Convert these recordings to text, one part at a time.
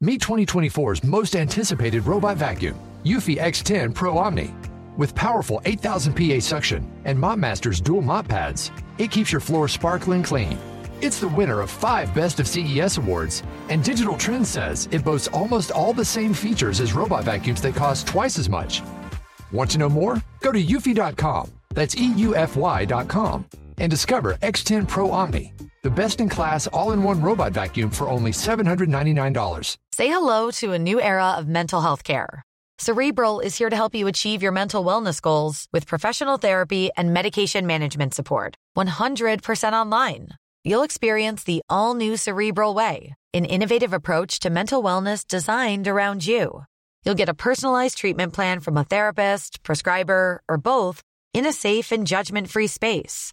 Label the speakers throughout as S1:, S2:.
S1: Meet 2024's most anticipated robot vacuum, Eufy X10 Pro Omni. With powerful 8000 PA suction and MopMaster's dual mop pads, it keeps your floor sparkling clean. It's the winner of five Best of CES awards, and Digital Trends says it boasts almost all the same features as robot vacuums that cost twice as much. Want to know more? Go to eufy.com, that's E EUFY.com, and discover X10 Pro Omni, the best in class all in one robot vacuum for only $799.
S2: Say hello to a new era of mental health care. Cerebral is here to help you achieve your mental wellness goals with professional therapy and medication management support. 100% online. You'll experience the all new Cerebral Way, an innovative approach to mental wellness designed around you. You'll get a personalized treatment plan from a therapist, prescriber, or both in a safe and judgment free space.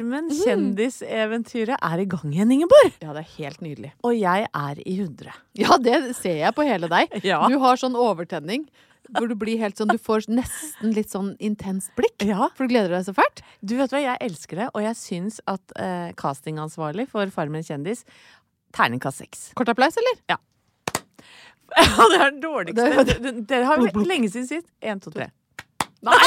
S3: Men kjendiseventyret er i gang igjen, Ingeborg.
S4: Mhm. Ja, det er helt nydelig.
S3: Og jeg er i 100.
S4: Ja, det ser jeg på hele deg.
S3: Ja.
S4: Du har sånn overtenning. Hvor du blir helt sånn Du får nesten litt sånn intenst blikk.
S3: Ja.
S4: For du gleder deg så fælt.
S3: Du vet hva, jeg elsker det, og jeg syns at eh, castingansvarlig for Farmen kjendis Terningkast seks.
S4: Kort applaus, eller?
S3: Ja. Ja, det er den dårligste.
S4: Det-
S3: Dere har lenge siden sist. Én, to, tre.
S4: Nei!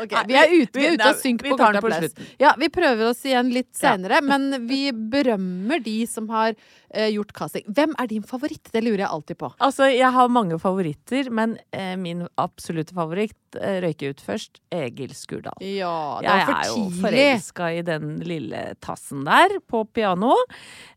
S4: Ok,
S3: Nei,
S4: vi er ute, vi
S3: vi-
S4: er ute
S3: nei,
S4: av synk
S3: vi
S4: på
S3: tar
S4: kort
S3: den på
S4: applaus.
S3: slutten.
S4: Ja, vi prøver oss igjen litt senere, men vi berømmer de som har eh, gjort casting. Hvem er din favoritt? Det lurer jeg alltid på.
S3: Altså, jeg har mange favoritter, men eh, min absolutte favoritt eh, røyker ut først. Egil Skurdal.
S4: Ja, det
S3: Jeg
S4: var
S3: er jo
S4: for tidlig.
S3: forelska i den lille tassen der, på piano.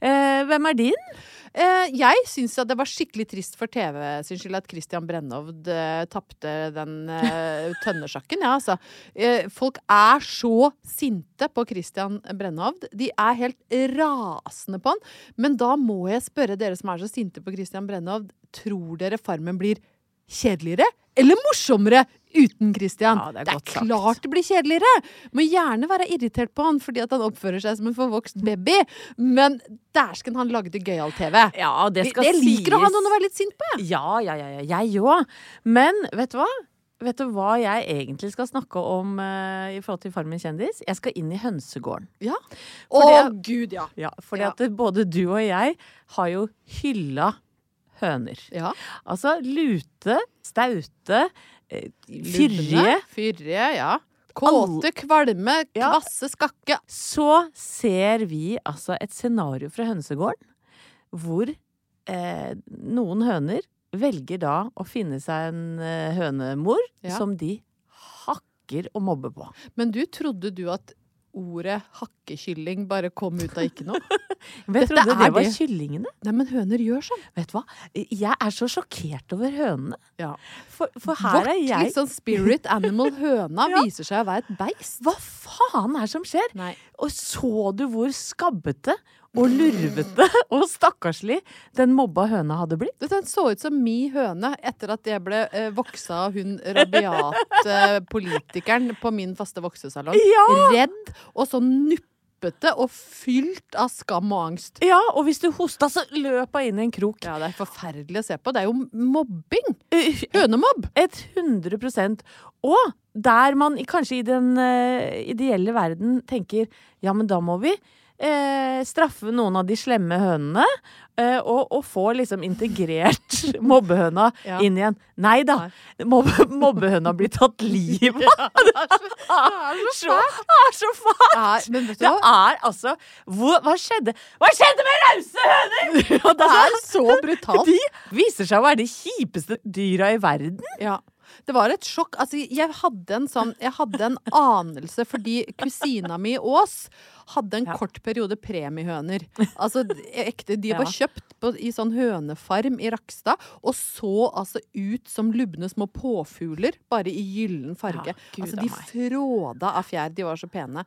S3: Eh, hvem er din?
S4: Eh, jeg syns at det var skikkelig trist for TV sin skyld at Christian Brennovd uh, tapte den eh, tønnesjakken. Ja, altså. Eh, folk er så sinte på Christian Brennovd. De er helt rasende på han. Men da må jeg spørre dere som er så sinte på Christian Brennovd, tror dere Farmen blir kjedeligere eller morsommere uten Christian?
S3: Ja, det er godt sagt.
S4: klart det blir kjedeligere! Må gjerne være irritert på han fordi at han oppfører seg som en forvokst baby, men dæsken, han lagde gøyal-TV.
S3: Ja, det skal
S4: Jeg liker å ha
S3: sies.
S4: noen å være litt sint på, jeg.
S3: Ja, ja, ja, ja. jeg òg. Men vet du hva? Vet du hva jeg egentlig skal snakke om eh, i forhold til Farmen kjendis? Jeg skal inn i hønsegården.
S4: Ja. Å,
S3: Fordi jeg-
S4: gud, ja.
S3: Ja, fordi
S4: Ja.
S3: at både du og jeg har jo hylla høner.
S4: ja.
S3: Altså lute, staute, eh, fyrige.
S4: Lubne, Fyrige, ja.
S3: Alle-
S4: Kåte, kvalme,
S3: Ja.
S4: kvasse, skakke.
S3: Så ser vi altså et scenario fra hønsegården hvor eh, noen høner velger da å finne seg en eh, hønemor
S4: Ja.
S3: som de hakker og mobber på.
S4: Men du trodde du at ordet hakkekylling bare kom ut av ikke noe?
S3: Men jeg
S4: Dette
S3: trodde
S4: er
S3: det var
S4: det.
S3: kyllingene.
S4: Nei, men høner gjør sånn.
S3: Vet du hva? Jeg er så sjokkert over hønene.
S4: Ja.
S3: For, for her
S4: Vårt
S3: er jeg
S4: litt sånn spirit animal høna
S3: Ja.
S4: viser seg å være et beist.
S3: Hva faen er det som skjer?
S4: Nei.
S3: Og så du hvor skabbete og lurvete og stakkarslig den mobba høna hadde blitt?
S4: Dette så ut som mi høne etter at jeg ble eh, voksa av hun rabiat-politikeren på min faste voksesalong.
S3: Ja!
S4: Redd og så nuppete og fylt av skam og angst.
S3: Ja, og hvis du hosta, så løp hun inn i en krok.
S4: Ja, det er forferdelig å se på. Det er jo mobbing.
S3: Uh,
S4: Hønemobb.
S3: Et 100 Og der man i- kanskje i den eh, ideelle verden tenker ja, men da må vi eh, straffe noen av de slemme hønene eh, og, og få liksom integrert mobbehøna
S4: Ja.
S3: inn igjen. Nei da! Mobbe, mobbehøna blir tatt livet av!
S4: er så
S3: fælt! Det er så fælt!
S4: Ja, men vet du
S3: Det
S4: hva?
S3: er altså hvor, Hva skjedde? Hva skjedde med rause
S4: Ja, det er så brutalt.
S3: De viser seg å være de kjipeste dyra i verden.
S4: Ja. Det var et sjokk. Altså, jeg hadde en sånn Jeg hadde en anelse fordi kusina mi Ås hadde en kort periode premiehøner. Altså d- ekte De var kjøpt på, i sånn hønefarm i Rakstad og så altså ut som lubne små påfugler, bare i gyllen farge.
S3: Ja, Gud
S4: altså,
S3: a
S4: de
S3: meg.
S4: fråda av fjær. De var så pene.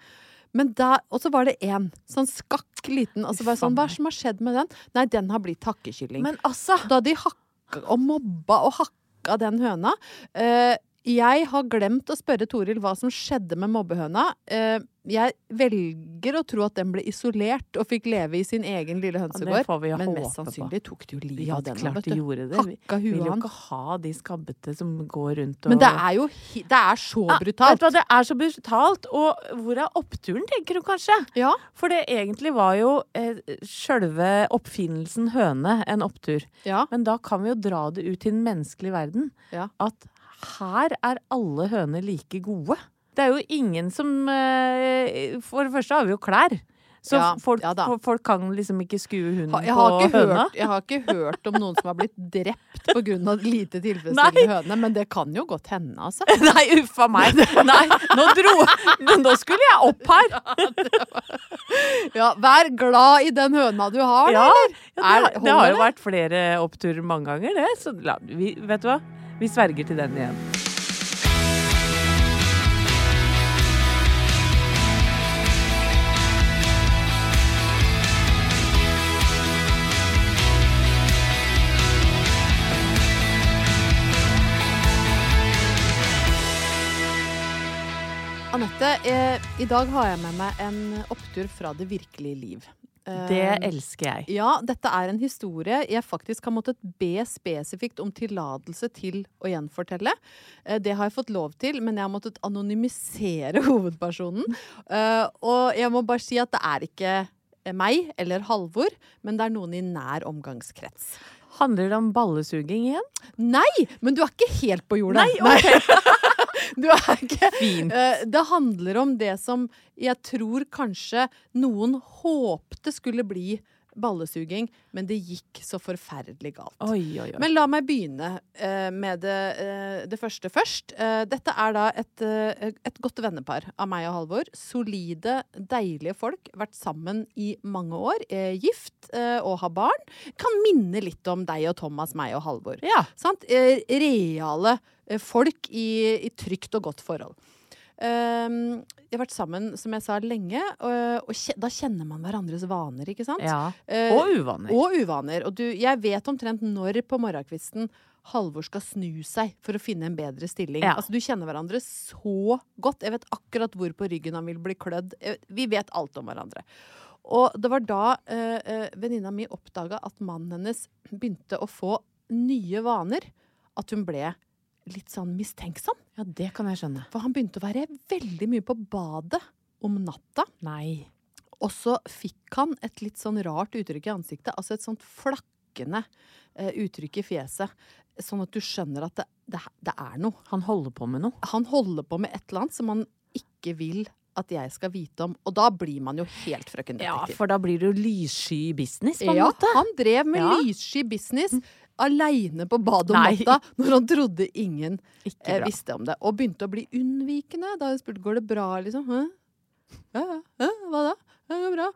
S4: Men da, Og så var det én sånn skakk liten. Altså bare sånn, Hva er det som har skjedd med den? Nei, den har blitt hakkekylling.
S3: Men altså
S4: Da de hakka og mobba og hakka den høna. Eh, jeg har glemt å spørre Toril hva som skjedde med mobbehøna. Eh, jeg velger å tro at den ble isolert og fikk leve i sin egen lille
S3: det
S4: hønsegård.
S3: får vi jo
S4: men
S3: håpe
S4: mest sannsynlig tok de jo livet
S3: Ja,
S4: av
S3: det
S4: den.
S3: er klart
S4: vet
S3: de
S4: du.
S3: gjorde det. Vi
S4: Hakka
S3: vil
S4: huet
S3: jo
S4: av
S3: ikke ha de skabbete som går rundt og
S4: Men det er jo hi- Det er så
S3: Ja, Vet
S4: brutalt.
S3: du hva, det er så brutalt. Og hvor er oppturen, tenker hun kanskje?
S4: Ja.
S3: For det egentlig var jo eh, sjølve oppfinnelsen høne en opptur.
S4: ja.
S3: Men da kan vi jo dra det ut til den menneskelige verden.
S4: Ja.
S3: At her er alle høner like gode. Det er jo ingen som eh, For det første har vi jo klær. Så
S4: Ja,
S3: folk,
S4: ja da.
S3: fo- folk kan liksom ikke skue hunden
S4: Ha- Jeg har,
S3: på
S4: ikke
S3: høna.
S4: hørt, jeg har ikke hørt om noen som har blitt drept pga. lite
S3: Nei.
S4: tilfredsstillende høne, men det kan jo godt hende, altså.
S3: Nei, uffa meg. Nei, nå dro Nå skulle jeg opp her!
S4: Ja, vær glad i den høna du har, da,
S3: Ja,
S4: eller?
S3: ja det, har-
S4: Er-
S3: det har jo
S4: holder
S3: vært flere oppturer mange ganger, det. Så la, vi, vet du hva? Vi sverger til den igjen.
S4: Anette, eh, i dag har jeg med meg en opptur fra det virkelige liv. Eh,
S3: Det elsker jeg.
S4: Ja, dette er en historie jeg faktisk har måttet be spesifikt om tillatelse til å gjenfortelle. Eh, Det har jeg fått lov til, men jeg har måttet anonymisere hovedpersonen. Eh, Og jeg må bare si at det er ikke eh, meg eller Halvor, men det er noen i nær omgangskrets.
S3: Handler det om ballesuging igjen?
S4: Nei, men du er ikke helt på jorda.
S3: Nei,
S4: du er ikke
S3: Fint.
S4: Eh, Det handler om det som jeg tror kanskje noen håpte skulle bli ballesuging, men det gikk så forferdelig galt.
S3: Oi, oi, oi.
S4: Men la meg begynne eh, med det, eh, det første først. Eh, dette er da et, eh, et godt vennepar av meg og Halvor. Solide, deilige folk. Vært sammen i mange år. eh, gift eh, og har barn. Kan minne litt om deg og Thomas, meg og Halvor.
S3: Ja.
S4: Sant? Eh, reale eh, folk i, i trygt og godt forhold. Ehm, de har vært sammen, som jeg sa, lenge, og, og kje- da kjenner man hverandres vaner, ikke sant?
S3: ja.
S4: Eh,
S3: Og uvaner.
S4: og uvaner. Og du, jeg vet omtrent når på morgenkvisten Halvor skal snu seg for å finne en bedre stilling.
S3: Ja.
S4: Altså, du kjenner hverandre så godt. Jeg vet akkurat hvor på ryggen han vil bli klødd. Jeg- Vi vet alt om hverandre. Og det var da eh, eh, venninna mi oppdaga at mannen hennes begynte å få nye vaner. At hun ble litt sånn mistenksom.
S3: Ja, det kan jeg skjønne.
S4: For han begynte å være veldig mye på badet om natta.
S3: Nei.
S4: Og så fikk han et litt sånn rart uttrykk i ansiktet, altså et sånt flakkende eh, uttrykk i fjeset. Sånn at du skjønner at det, det, det er noe.
S3: Han holder på med noe.
S4: Han holder på med et eller annet som han ikke vil at jeg skal vite om. Og da blir man jo helt frøken
S3: Ja,
S4: detektiv.
S3: for da blir du lyssky i business, på en
S4: Ja,
S3: måte.
S4: han drev med
S3: Ja. Mhm.
S4: lyssky business aleine på badet om
S3: Nei.
S4: natta når han trodde ingen
S3: Ikke
S4: eh,
S3: bra.
S4: visste om det. Og begynte å bli unnvikende da hun spurte går det bra. liksom. Hæ? Ja, ja, ja, hva da? Ja, det går bra.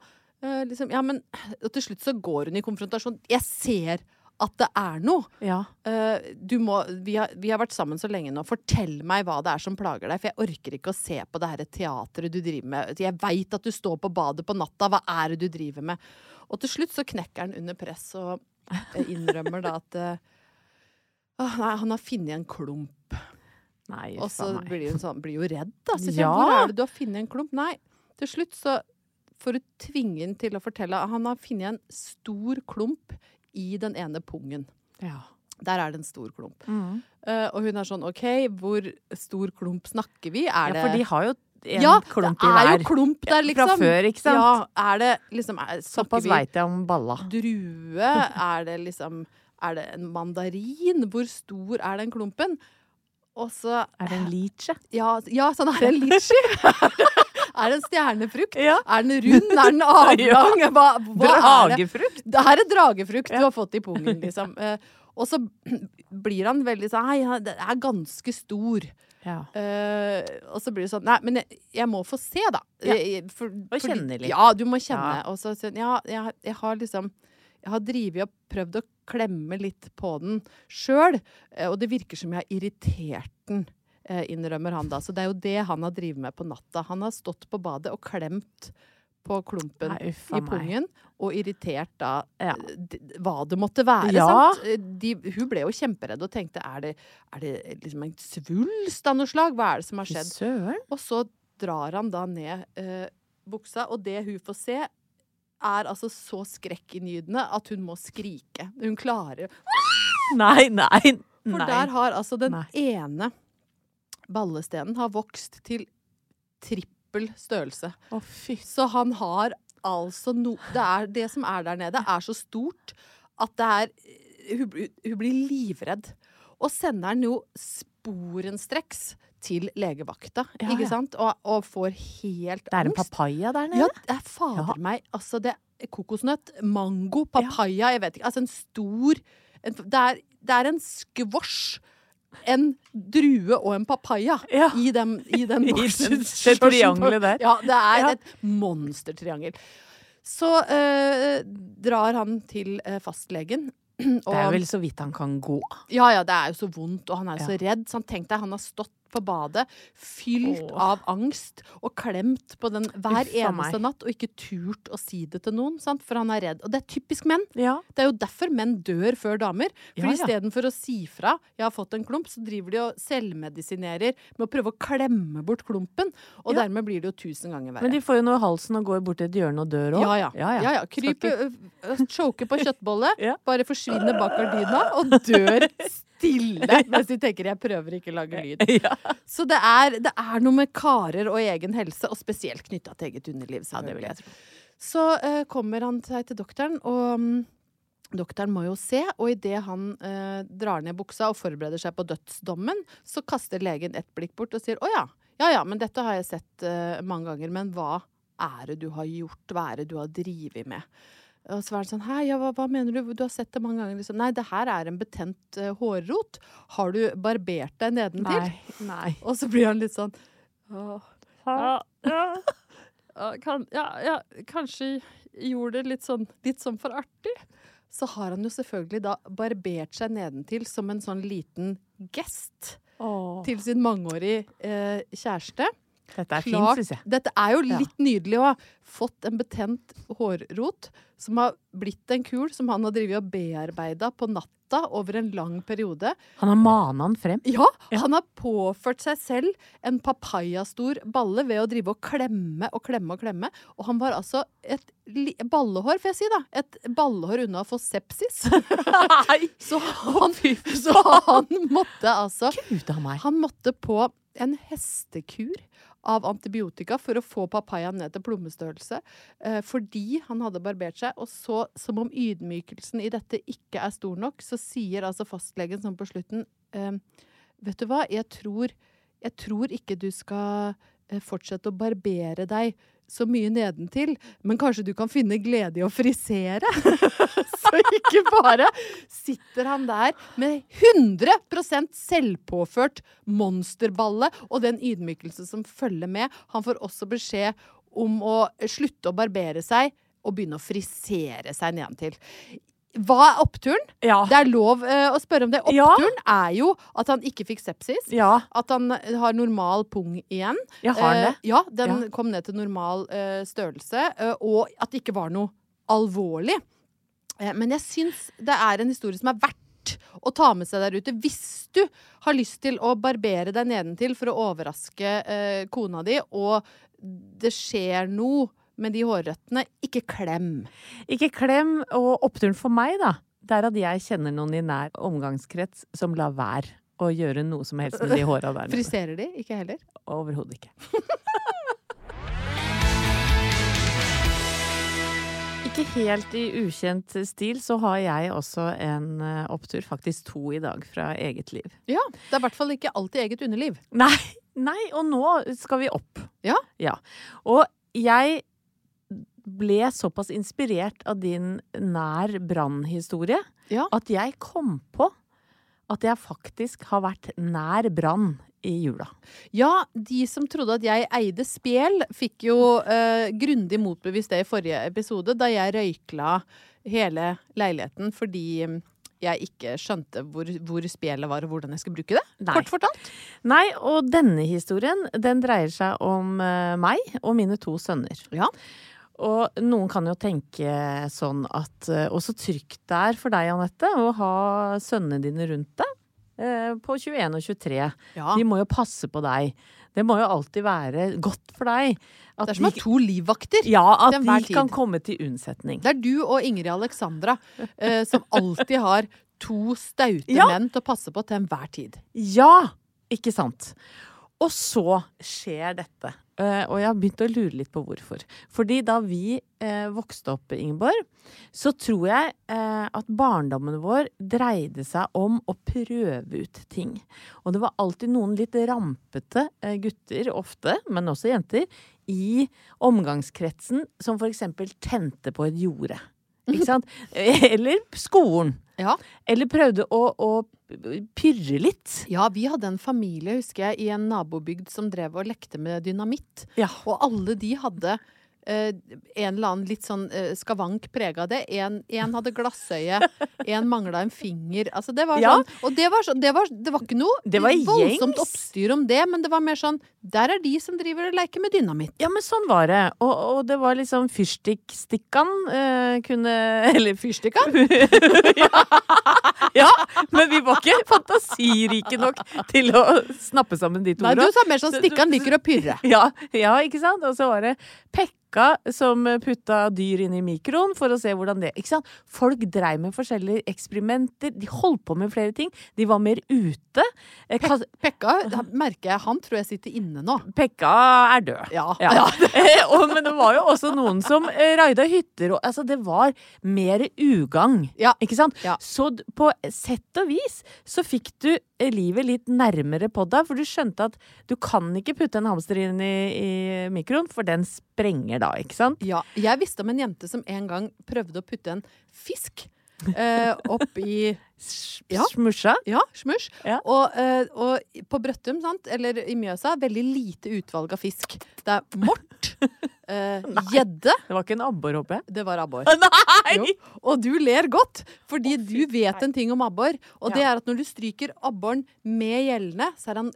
S4: Eh, liksom, ja, men og til slutt så går hun i konfrontasjon. Jeg ser at det er noe.
S3: Ja.
S4: Eh, du må, vi, har, vi har vært sammen så lenge nå. Fortell meg hva det er som plager deg. For jeg orker ikke å se på det her teateret du driver med. Jeg veit at du står på badet på natta. Hva er det du driver med? Og til slutt så knekker han under press og eh, innrømmer da at eh, «Åh, nei, han har funnet en klump.
S3: Nei,
S4: Og så
S3: uff a meg.
S4: blir hun sånn, blir jo redd, da. Så ja.
S3: Ja.
S4: Hvor er det du har funnet en klump? Nei. Til slutt så får hun tvinge ham til å fortelle at han har funnet en stor klump i den ene pungen.
S3: Ja.
S4: Der er det en stor klump.
S3: Mm.
S4: Eh, og hun er sånn OK, hvor stor klump snakker vi? Er
S3: ja,
S4: det
S3: for de har jo en
S4: Ja,
S3: klump i
S4: det er
S3: hver.
S4: jo klump der, liksom.
S3: Fra før, ikke sant?
S4: Ja, er det liksom er, Snakker
S3: Såpass
S4: vi
S3: veit jeg om balla.
S4: drue? Er det liksom Er det en mandarin? Hvor stor er den klumpen? Og så
S3: Er det en leach? ja?
S4: Ja, ja sånn er det en litchi. Er det en stjernefrukt?
S3: Ja.
S4: Er den rund? Er den avlang? Hva, hva er det?
S3: Dragefrukt?
S4: Det her er dragefrukt du har fått i pungen, liksom. Eh, og så blir han veldig sånn Hei, han den er ganske stor.
S3: Ja.
S4: Eh, og så blir det sånn Nei, men jeg, jeg må få se, da.
S3: Ja.
S4: Jeg- for- fordi-
S3: kjenne litt.
S4: Ja, du må kjenne.
S3: Ja.
S4: Og så sånn Ja, jeg, jeg har liksom Jeg har drevet og prøvd å klemme litt på den sjøl, eh, og det virker som jeg har irritert den. eh, Innrømmer han da. Så det er jo det han har drevet med på natta. Han har stått på badet og klemt på klumpen
S3: Nei, uff
S4: i
S3: a meg.
S4: pungen, og irritert da eh,
S3: Ja.
S4: d- d- hva det måtte være.
S3: Ja.
S4: Sant? eh, De, hun ble jo kjemperedd og tenkte er det, er det liksom en svulst av noe slag? Hva er det som har skjedd?
S3: Søren.
S4: Og så drar han da ned eh, buksa, og det hun får se, er altså så skrekkinngytende at hun må skrike. Hun klarer
S3: Nei, nei.
S4: For
S3: nei.
S4: der har altså den
S3: Nei.
S4: ene ballestenen har vokst til trippel størrelse.
S3: Å, fy s-
S4: Så han har altså no... Det, er, det som er der nede, er så stort at det er Hun, blir- hun blir livredd. Og sender han jo sporenstreks til legevakta,
S3: Ja,
S4: ikke
S3: ja.
S4: sant? Og, og får helt
S3: Det er en
S4: angst.
S3: papaya der nede.
S4: Ja, det er fader
S3: Ja.
S4: meg. Altså, det er kokosnøtt, mango, papaya, jeg vet ikke. Altså, en stor en, det, er, det er en skvosj. En drue og en papaya
S3: Ja.
S4: i, dem, i den
S3: I
S4: boksen.
S3: den- det triangelet der.
S4: Ja, det er
S3: Ja.
S4: et monstertriangel. Så eh, drar han til eh, fastlegen. Og,
S3: Det er vel så vidt han kan gå.
S4: ja, ja, det er jo så vondt, og han er jo så redd. Så han tenk deg, han har stått på badet, fylt
S3: Åh.
S4: av angst og klemt på den hver
S3: Uff a meg.
S4: eneste natt, og ikke turt å si det til noen, sant? for han er redd. Og det er typisk menn.
S3: Ja.
S4: Det er jo derfor menn dør før damer. For
S3: Ja, ja.
S4: istedenfor å si fra 'jeg har fått en klump', så driver de og selvmedisinerer med å prøve å klemme bort klumpen, og dermed blir det jo tusen ganger verre.
S3: Men de får jo noe i halsen og går bort til et hjørne og dør òg.
S4: Ja, ja. ja, ja.
S3: Skal
S4: Krype,
S3: ikke-
S4: ø, ø, choke på kjøttbolle,
S3: Ja.
S4: bare forsvinne bak gardina og dør stille mens de tenker 'jeg prøver ikke å lage lyd'.
S3: Ja.
S4: Så det er, det er noe med karer og egen helse, og spesielt knytta til eget underliv.
S3: Ja, det vil jeg tro.
S4: Så ø, kommer han seg til doktoren, og mm, Doktoren må jo se, og idet han eh, drar ned buksa og forbereder seg på dødsdommen, så kaster legen et blikk bort og sier å ja, ja ja, men dette har jeg sett eh, mange ganger, men hva er det du har gjort, hva er det du har drevet med? Og så er det sånn hei, ja, hva, hva mener du, du har sett det mange ganger, liksom. Nei, det her er en betent eh, hårrot, har du barbert deg nedentil?
S3: Nei. Nei.
S4: Og så blir han litt sånn åh.
S5: Ja, ja. Ja, Kan, ja, ja, kanskje gjorde det litt sånn, litt sånn for artig.
S4: Så har han jo selvfølgelig da barbert seg nedentil som en sånn liten gest til sin mangeårige eh, kjæreste.
S3: Dette er fint,
S4: Klart-
S3: syns jeg.
S4: Dette er jo
S3: Ja.
S4: litt nydelig òg. Fått en betent hårrot som har blitt en kul som han har drevet og bearbeida på natta over en lang periode.
S3: Han har mana han frem.
S4: Ja, han har påført seg selv en papayastor balle ved å drive og klemme og klemme og klemme. Og han var altså et li ballehår, får jeg si da. Et ballehår unna å få sepsis. så, han, så han måtte altså
S3: Ut av meg.
S4: Han måtte på en hestekur av antibiotika for å få papayaen ned til plommestørrelse. Eh, fordi han hadde barbert seg. Og så, som om ydmykelsen i dette ikke er stor nok, så sier altså fastlegen sånn på slutten eh, Vet du hva, jeg tror, jeg tror ikke du skal eh, fortsette å barbere deg så mye nedentil, men kanskje du kan finne glede i å frisere? så ikke bare sitter han der med 100 selvpåført monsterballe og den ydmykelse som følger med. Han får også beskjed om å slutte å barbere seg og begynne å frisere seg nedentil. Hva er oppturen?
S3: Ja.
S4: Det er lov eh, å spørre om det.
S3: Ah. Ja.
S4: Oppturen er jo at han ikke fikk sepsis.
S3: Ja.
S4: At han eh, har normal pung igjen.
S3: Ja, har han det?
S4: Eh, ja, den
S3: Ja.
S4: kom ned til normal eh, størrelse. eh, og at det ikke var noe alvorlig. Eh, men jeg syns det er en historie som er verdt å ta med seg der ute. Hvis du har lyst til å barbere deg nedentil for å overraske eh, kona di, og det skjer noe med de hårrøttene, ikke klem.
S3: Eh, Ikke klem, og oppturen for meg, da, det er at jeg kjenner noen i nær omgangskrets som lar være å gjøre noe som helst med de håra der nede.
S4: Friserer de? Ikke heller.
S3: Overhodet ikke. Ikke helt i ukjent stil, så har jeg også en eh, opptur, faktisk to i dag, fra eget liv.
S4: Ja, Det er i hvert fall ikke alltid eget underliv.
S3: Nei, Nei, og nå skal vi opp.
S4: Ja.
S3: Og jeg ble såpass inspirert av din nær brannhistorie
S4: Ja.
S3: at jeg kom på at jeg faktisk har vært nær brann i jula.
S4: Ja, de som trodde at jeg eide spel, fikk jo eh, grundig motbevist det i forrige episode, da jeg røykla hele leiligheten fordi mm, jeg ikke skjønte hvor, hvor spelet var, og hvordan jeg skulle bruke det.
S3: Nei.
S4: Kort fortalt.
S3: Nei, og denne historien den dreier seg om eh, meg og mine to sønner.
S4: Ja.
S3: Og noen kan jo tenke sånn at eh, Og så trygt det er for deg, Anette, å ha sønnene dine rundt deg. eh, På 21 og 23.
S4: Ja.
S3: De må jo passe på deg. Det må jo alltid være godt for deg. at
S4: Det er som å ha
S3: de-
S4: to livvakter.
S3: ja, at
S4: til enhver
S3: de kan
S4: tid.
S3: komme til unnsetning.
S4: Det er du og Ingrid Alexandra eh, som alltid har to staute
S3: Ja.
S4: menn til å passe på til enhver tid.
S3: Ja! Ikke sant? Og så skjer dette. Eh, og jeg har begynt å lure litt på hvorfor. Fordi da vi eh, vokste opp, Ingeborg, så tror jeg eh, at barndommen vår dreide seg om å prøve ut ting. Og det var alltid noen litt rampete eh, gutter, ofte, men også jenter, i omgangskretsen som for eksempel tente på et jorde. Ikke sant? Eller skolen.
S4: Ja.
S3: Eller prøvde å, å pyrre litt.
S4: Ja, vi hadde en familie, husker jeg, i en nabobygd som drev og lekte med dynamitt.
S3: Ja.
S4: Og alle de hadde eh, en eller annen litt sånn eh, skavank prega av det. En, en hadde glassøye, en mangla en finger. Altså, det var
S3: Ja.
S4: sånn. Og det var, sånn- det var, det var ikke noe
S3: Det var
S4: voldsomt
S3: gjengs.
S4: oppstyr om det, men det var mer sånn Der er de som driver og leker med dynamitt.
S3: Ja, men sånn var det. Og, og det var liksom fyrstikkstikkan eh, kunne Eller fyrstikka? ja. ja, men vi var ikke fantasirike nok til å snappe sammen de to
S4: Nei, du
S3: ordene.
S4: sa mer sånn Stikkan liker å pyrre.
S3: Ja, ja, ikke sant? Og så var det Pekka som putta dyr inn i mikroen for å se hvordan det Ikke sant? Folk dreiv med forskjellige eksperimenter. De holdt på med flere ting. De var mer ute. Eh, kas-
S4: Pekka han- merker jeg, han tror jeg sitter inne nå.
S3: Pekka er død.
S4: Ja.
S3: Ja. Eh, og, men det var jo også noen som eh, raida hytter og Altså, det var mer ugagn.
S4: Ja.
S3: Ikke sant?
S4: Ja.
S3: Så d- på sett og vis så fikk du eh, livet litt nærmere på deg, for du skjønte at du kan ikke putte en hamster inn i, i mikroen, for den sprenger da, ikke sant?
S4: Ja, jeg visste om en jente som en gang prøvde å putte en fisk eh, opp i
S3: S-
S4: Ja.
S3: Smusja.
S4: ja, smørs.
S3: Ja.
S4: Og, eh, og på Brøttum, sant, eller i Mjøsa, veldig lite utvalg av fisk. Det er mort, eh, gjedde
S3: Det var ikke en abbor, håper jeg.
S4: Det var abbor.
S3: Nei!
S4: Jo, og du ler godt, fordi du vet en ting om abbor. Og det
S3: Ja.
S4: er at når du stryker abboren med gjellene, så er han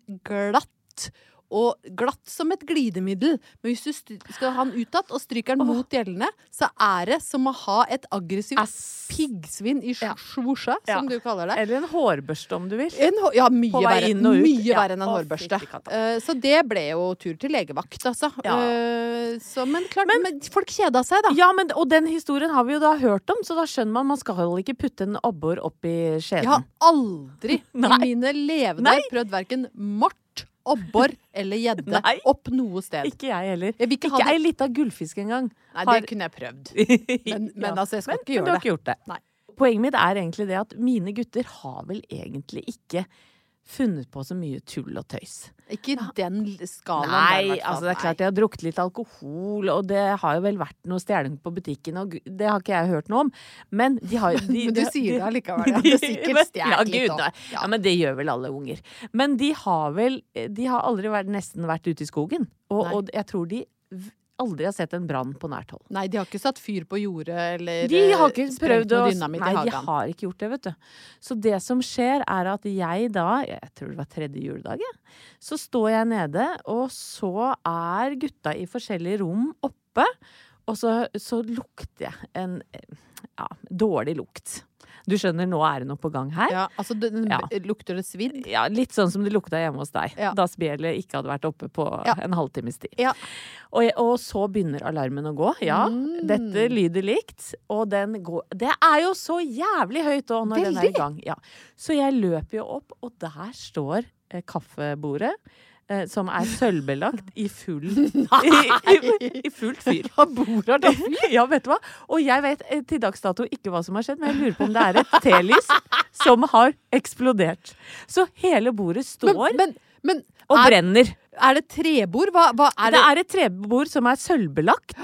S4: glatt. Og glatt som et glidemiddel. Men hvis du stry- skal ha han utad og stryker den mot gjellene, så er det som å ha et aggressivt
S3: Ass.
S4: piggsvin i
S3: Ja.
S4: svosja,
S3: Ja.
S4: som du kaller det.
S3: Eller en hårbørste, om du vil.
S4: En, hå- ja, mye
S3: På vei
S4: verre,
S3: inn og ut.
S4: mye
S3: Ja.
S4: verre enn en
S3: Å,
S4: hårbørste.
S3: fytti katta.
S4: Eh, så det ble jo tur til legevakt, altså.
S3: Ja.
S4: Eh, så, men klart, men, folk kjeda seg, da.
S3: Ja, men, og den historien har vi jo da hørt om, så da skjønner man man skal ikke putte en abbor opp i skjeden.
S4: Jeg har aldri i
S3: Nei.
S4: mine levedager
S3: Nei.
S4: prøvd verken mort, abbor eller gjedde
S3: Nei.
S4: opp noe sted.
S3: Ikke jeg heller.
S4: Jeg vil ikke ha
S3: ikke
S4: det.
S3: ei lita gullfisk engang.
S4: Nei,
S3: Har-
S4: det kunne jeg prøvd.
S3: men,
S4: men altså, jeg skal ikke gjøre
S3: du har
S4: det.
S3: ikke gjort det.
S4: Nei.
S3: Poenget mitt er egentlig det at mine gutter har vel egentlig ikke funnet på så mye tull og tøys.
S4: Ikke i den l- skalaen der, i
S3: Nei,
S4: hvert fall.
S3: altså det er
S4: Nei.
S3: klart jeg har drukket litt alkohol, og det har jo vel vært noe stjeling på butikken, og gu- det har ikke jeg hørt noe om. Men de har de,
S4: Men du
S3: de-
S4: sier det allikevel,
S3: de-
S4: ja. Det er sikkert
S3: men-
S4: stjert
S3: ja,
S4: litt
S3: gud,
S4: også.
S3: nei.
S4: Ja.
S3: Ja, men det gjør vel alle unger. Men de har vel De har aldri vært, nesten vært ute i skogen. Og,
S4: Nei.
S3: og jeg tror de v- aldri har sett en brann på nært hold.
S4: Nei, de har ikke satt fyr på jordet eller
S3: De har
S4: eh,
S3: ikke
S4: sprengt
S3: prøvd å
S4: noe dynamitt
S3: Nei,
S4: i
S3: de
S4: hagen.
S3: har ikke gjort det, vet du. Så det som skjer, er at jeg da, jeg tror det var tredje juledag, jeg, så står jeg nede, og så er gutta i forskjellige rom oppe, og så, så lukter jeg en ja, dårlig lukt. Du skjønner, nå er det noe på gang her.
S4: Ja, altså, den,
S3: Ja.
S4: Lukter det svidd?
S3: Ja, litt sånn som det lukta hjemme hos deg,
S4: Ja.
S3: da spjelet ikke hadde vært oppe på
S4: Ja.
S3: en halvtimes tid.
S4: Ja.
S3: Og, jeg- og så begynner alarmen å gå. Ja,
S4: Mm.
S3: dette lyder likt, og den går Det er jo så jævlig høyt òg når den er i
S4: Veldig.
S3: gang. Ja. Så jeg løper jo opp, og der står eh, kaffebordet. eh, Som er sølvbelagt i full i, i, I fullt fyr. Ja, vet du hva? Og jeg vet eh, til dags dato ikke hva som har skjedd, men jeg lurer på om det er et telys som har eksplodert. Så hele bordet står
S4: Men, men, men
S3: og
S4: er,
S3: brenner.
S4: Er det trebord? Hva, hva er
S3: det
S4: det?
S3: er et trebord som er sølvbelagt.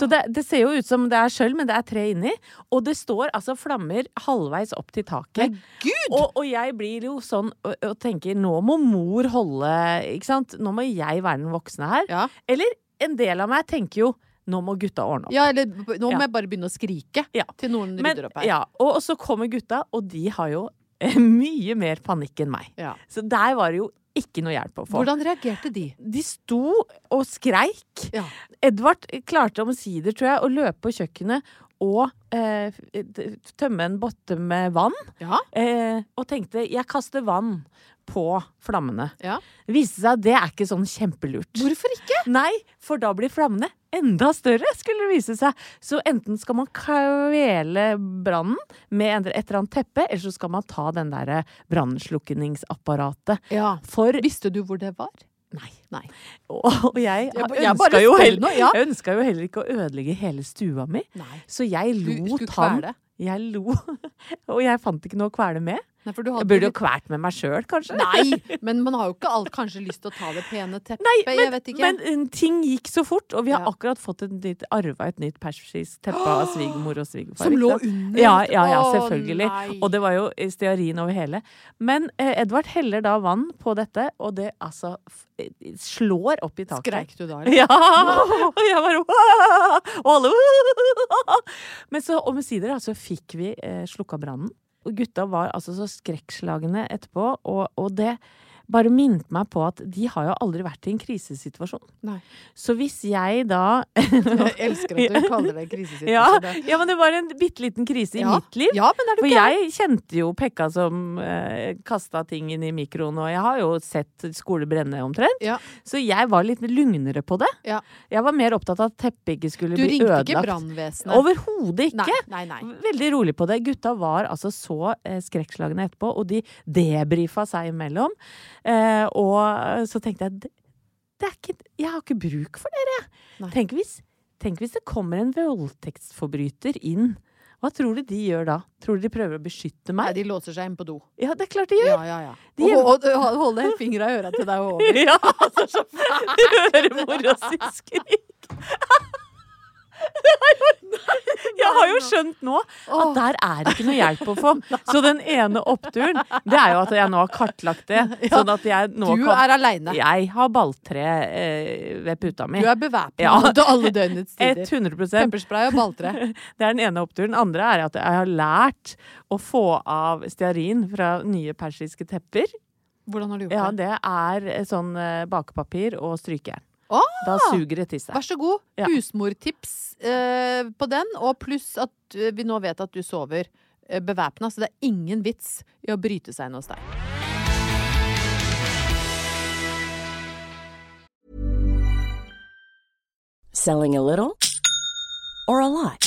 S3: Så det, det ser jo ut som det er sølv, men det er tre inni. Og det står altså flammer halvveis opp til taket.
S4: Gud!
S3: Og, og jeg blir jo sånn og, og tenker nå må mor holde Ikke sant? Nå må jeg være den voksne her.
S4: Ja.
S3: Eller en del av meg tenker jo nå må gutta ordne opp.
S4: ja, eller b- nå må
S3: Ja.
S4: jeg bare begynne å skrike
S3: Ja.
S4: til noen
S3: Men,
S4: rydder opp her.
S3: ja, og, og så kommer gutta, og de har jo eh, mye mer panikk enn meg.
S4: Ja.
S3: Så der var det jo ikke noe hjelp å få.
S4: Hvordan reagerte de?
S3: De sto og skreik.
S4: Ja.
S3: Edvard klarte omsider, tror jeg, å løpe på kjøkkenet og eh, t- tømme en botte med vann.
S4: Ja.
S3: Eh, og tenkte 'jeg kaster vann på flammene'.
S4: Ja.
S3: Det Viste seg at det er ikke sånn kjempelurt.
S4: Hvorfor ikke?
S3: Nei, for da blir flammene enda større, skulle det vise seg. Så enten skal man kvele brannen med en- et eller annet teppe, eller så skal man ta den derre brannslukningsapparatet.
S4: Ja.
S3: For
S4: Visste du hvor det var?
S3: Nei.
S4: Nei.
S3: Og jeg,
S4: Jeg ba-
S3: ønska
S4: jeg bare
S3: jo
S4: spør
S3: heller,
S4: nå, ja.
S3: jeg ønska jo heller ikke å ødelegge hele stua mi,
S4: Nei.
S3: så jeg
S4: Du
S3: lot
S4: skulle
S3: han
S4: kvele.
S3: Jeg lo, og jeg fant ikke noe å kvele med.
S4: Nei, for du
S3: Jeg
S4: hadde
S3: burde jo
S4: litt-
S3: kvalt med meg sjøl, kanskje.
S4: Nei, men man har jo ikke alt kanskje lyst til å ta det pene teppet.
S3: Nei,
S4: jeg vet ikke.
S3: Men eh, ting gikk så fort, og vi har
S4: Ja.
S3: akkurat fått et nytt, arva et nytt persisk teppe av svigermor og svigerfar.
S4: Som
S3: ikke
S4: lå
S3: sant?
S4: under?
S3: Ja, ja, ja,
S4: Å,
S3: selvfølgelig.
S4: nei.
S3: Og det var jo stearin over hele. Men eh, Edvard heller da vann på dette, og det altså f slår opp i taket.
S4: Skreik du da? eller?
S3: Ja! Og jeg bare «Åh!» Og alle «Åh!» Men så omsider altså, fikk vi eh, slukka brannen. Og gutta var altså så skrekkslagne etterpå, og, og det bare minnet meg på at de har jo aldri vært i en krisesituasjon.
S4: Nei.
S3: Så hvis jeg da
S4: Jeg elsker at du kaller det en krisesituasjon.
S3: ja,
S4: altså Det-
S3: ja, men det var en bitte liten krise i
S4: Ja.
S3: mitt liv.
S4: Ja, men er du
S3: For
S4: ikke
S3: jeg kjente jo Pekka som eh, kasta ting inn i mikroen, og jeg har jo sett skoler brenne omtrent.
S4: Ja.
S3: Så jeg var litt lugnere på det.
S4: Ja.
S3: Jeg var mer opptatt av at teppet ikke skulle
S4: Du
S3: bli
S4: ringte
S3: ødelagt.
S4: ikke brannvesenet?
S3: Overhodet ikke.
S4: Nei, nei, nei.
S3: Veldig rolig på det. Gutta var altså så eh, skrekkslagne etterpå, og de debrifa seg imellom. Eh, og så tenkte jeg det det er ikke, Jeg har ikke bruk for dere,
S4: Nei.
S3: jeg. Tenk hvis, tenk hvis det kommer en voldtektsforbryter inn. Hva tror du de gjør da? Tror du de prøver å beskytte
S4: Nei,
S3: meg?
S4: de låser seg inn på do.
S3: Ja, det er klart de gjør!
S4: Ja, ja, ja.
S3: De
S4: Og,
S3: hjem-
S4: og, og holde fingra i øra til deg og over.
S3: Ja! altså, Du hører mora si skrik. Det er jo- Jeg har jo skjønt nå at der er det ikke noe hjelp å få. Så den ene oppturen, det er jo at jeg nå har kartlagt det. Sånn at jeg nå
S4: Du
S3: kan
S4: er aleine.
S3: Jeg har balltre eh, ved puta mi.
S4: Du er bevæpnet
S3: Ja.
S4: til alle døgnets tider.
S3: 100
S4: Pepperspray og balltre.
S3: Det er den ene oppturen. Den andre er at jeg har lært å få av stearin fra nye persiske tepper.
S4: Hvordan har du gjort
S3: Ja,
S4: det?
S3: det er eh, sånn eh, bakepapir og strykejern.
S4: Å,
S3: Da suger det til seg.
S4: vær så god.
S3: Ja.
S4: Husmortips eh, på den, og pluss at eh, vi nå vet at du sover eh, bevæpna, så det er ingen vits i å bryte seg inn hos deg.
S6: Selling a little or a lot?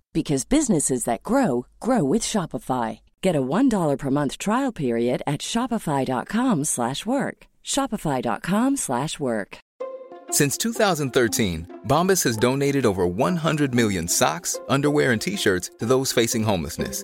S6: because businesses that grow grow with Shopify. Get a $1 per month trial period at shopify.com/work. slash work. shopify.com/work. slash work.
S7: Since 2013, Bombas has donated over 100 million socks, underwear, and t shirts to those facing homelessness.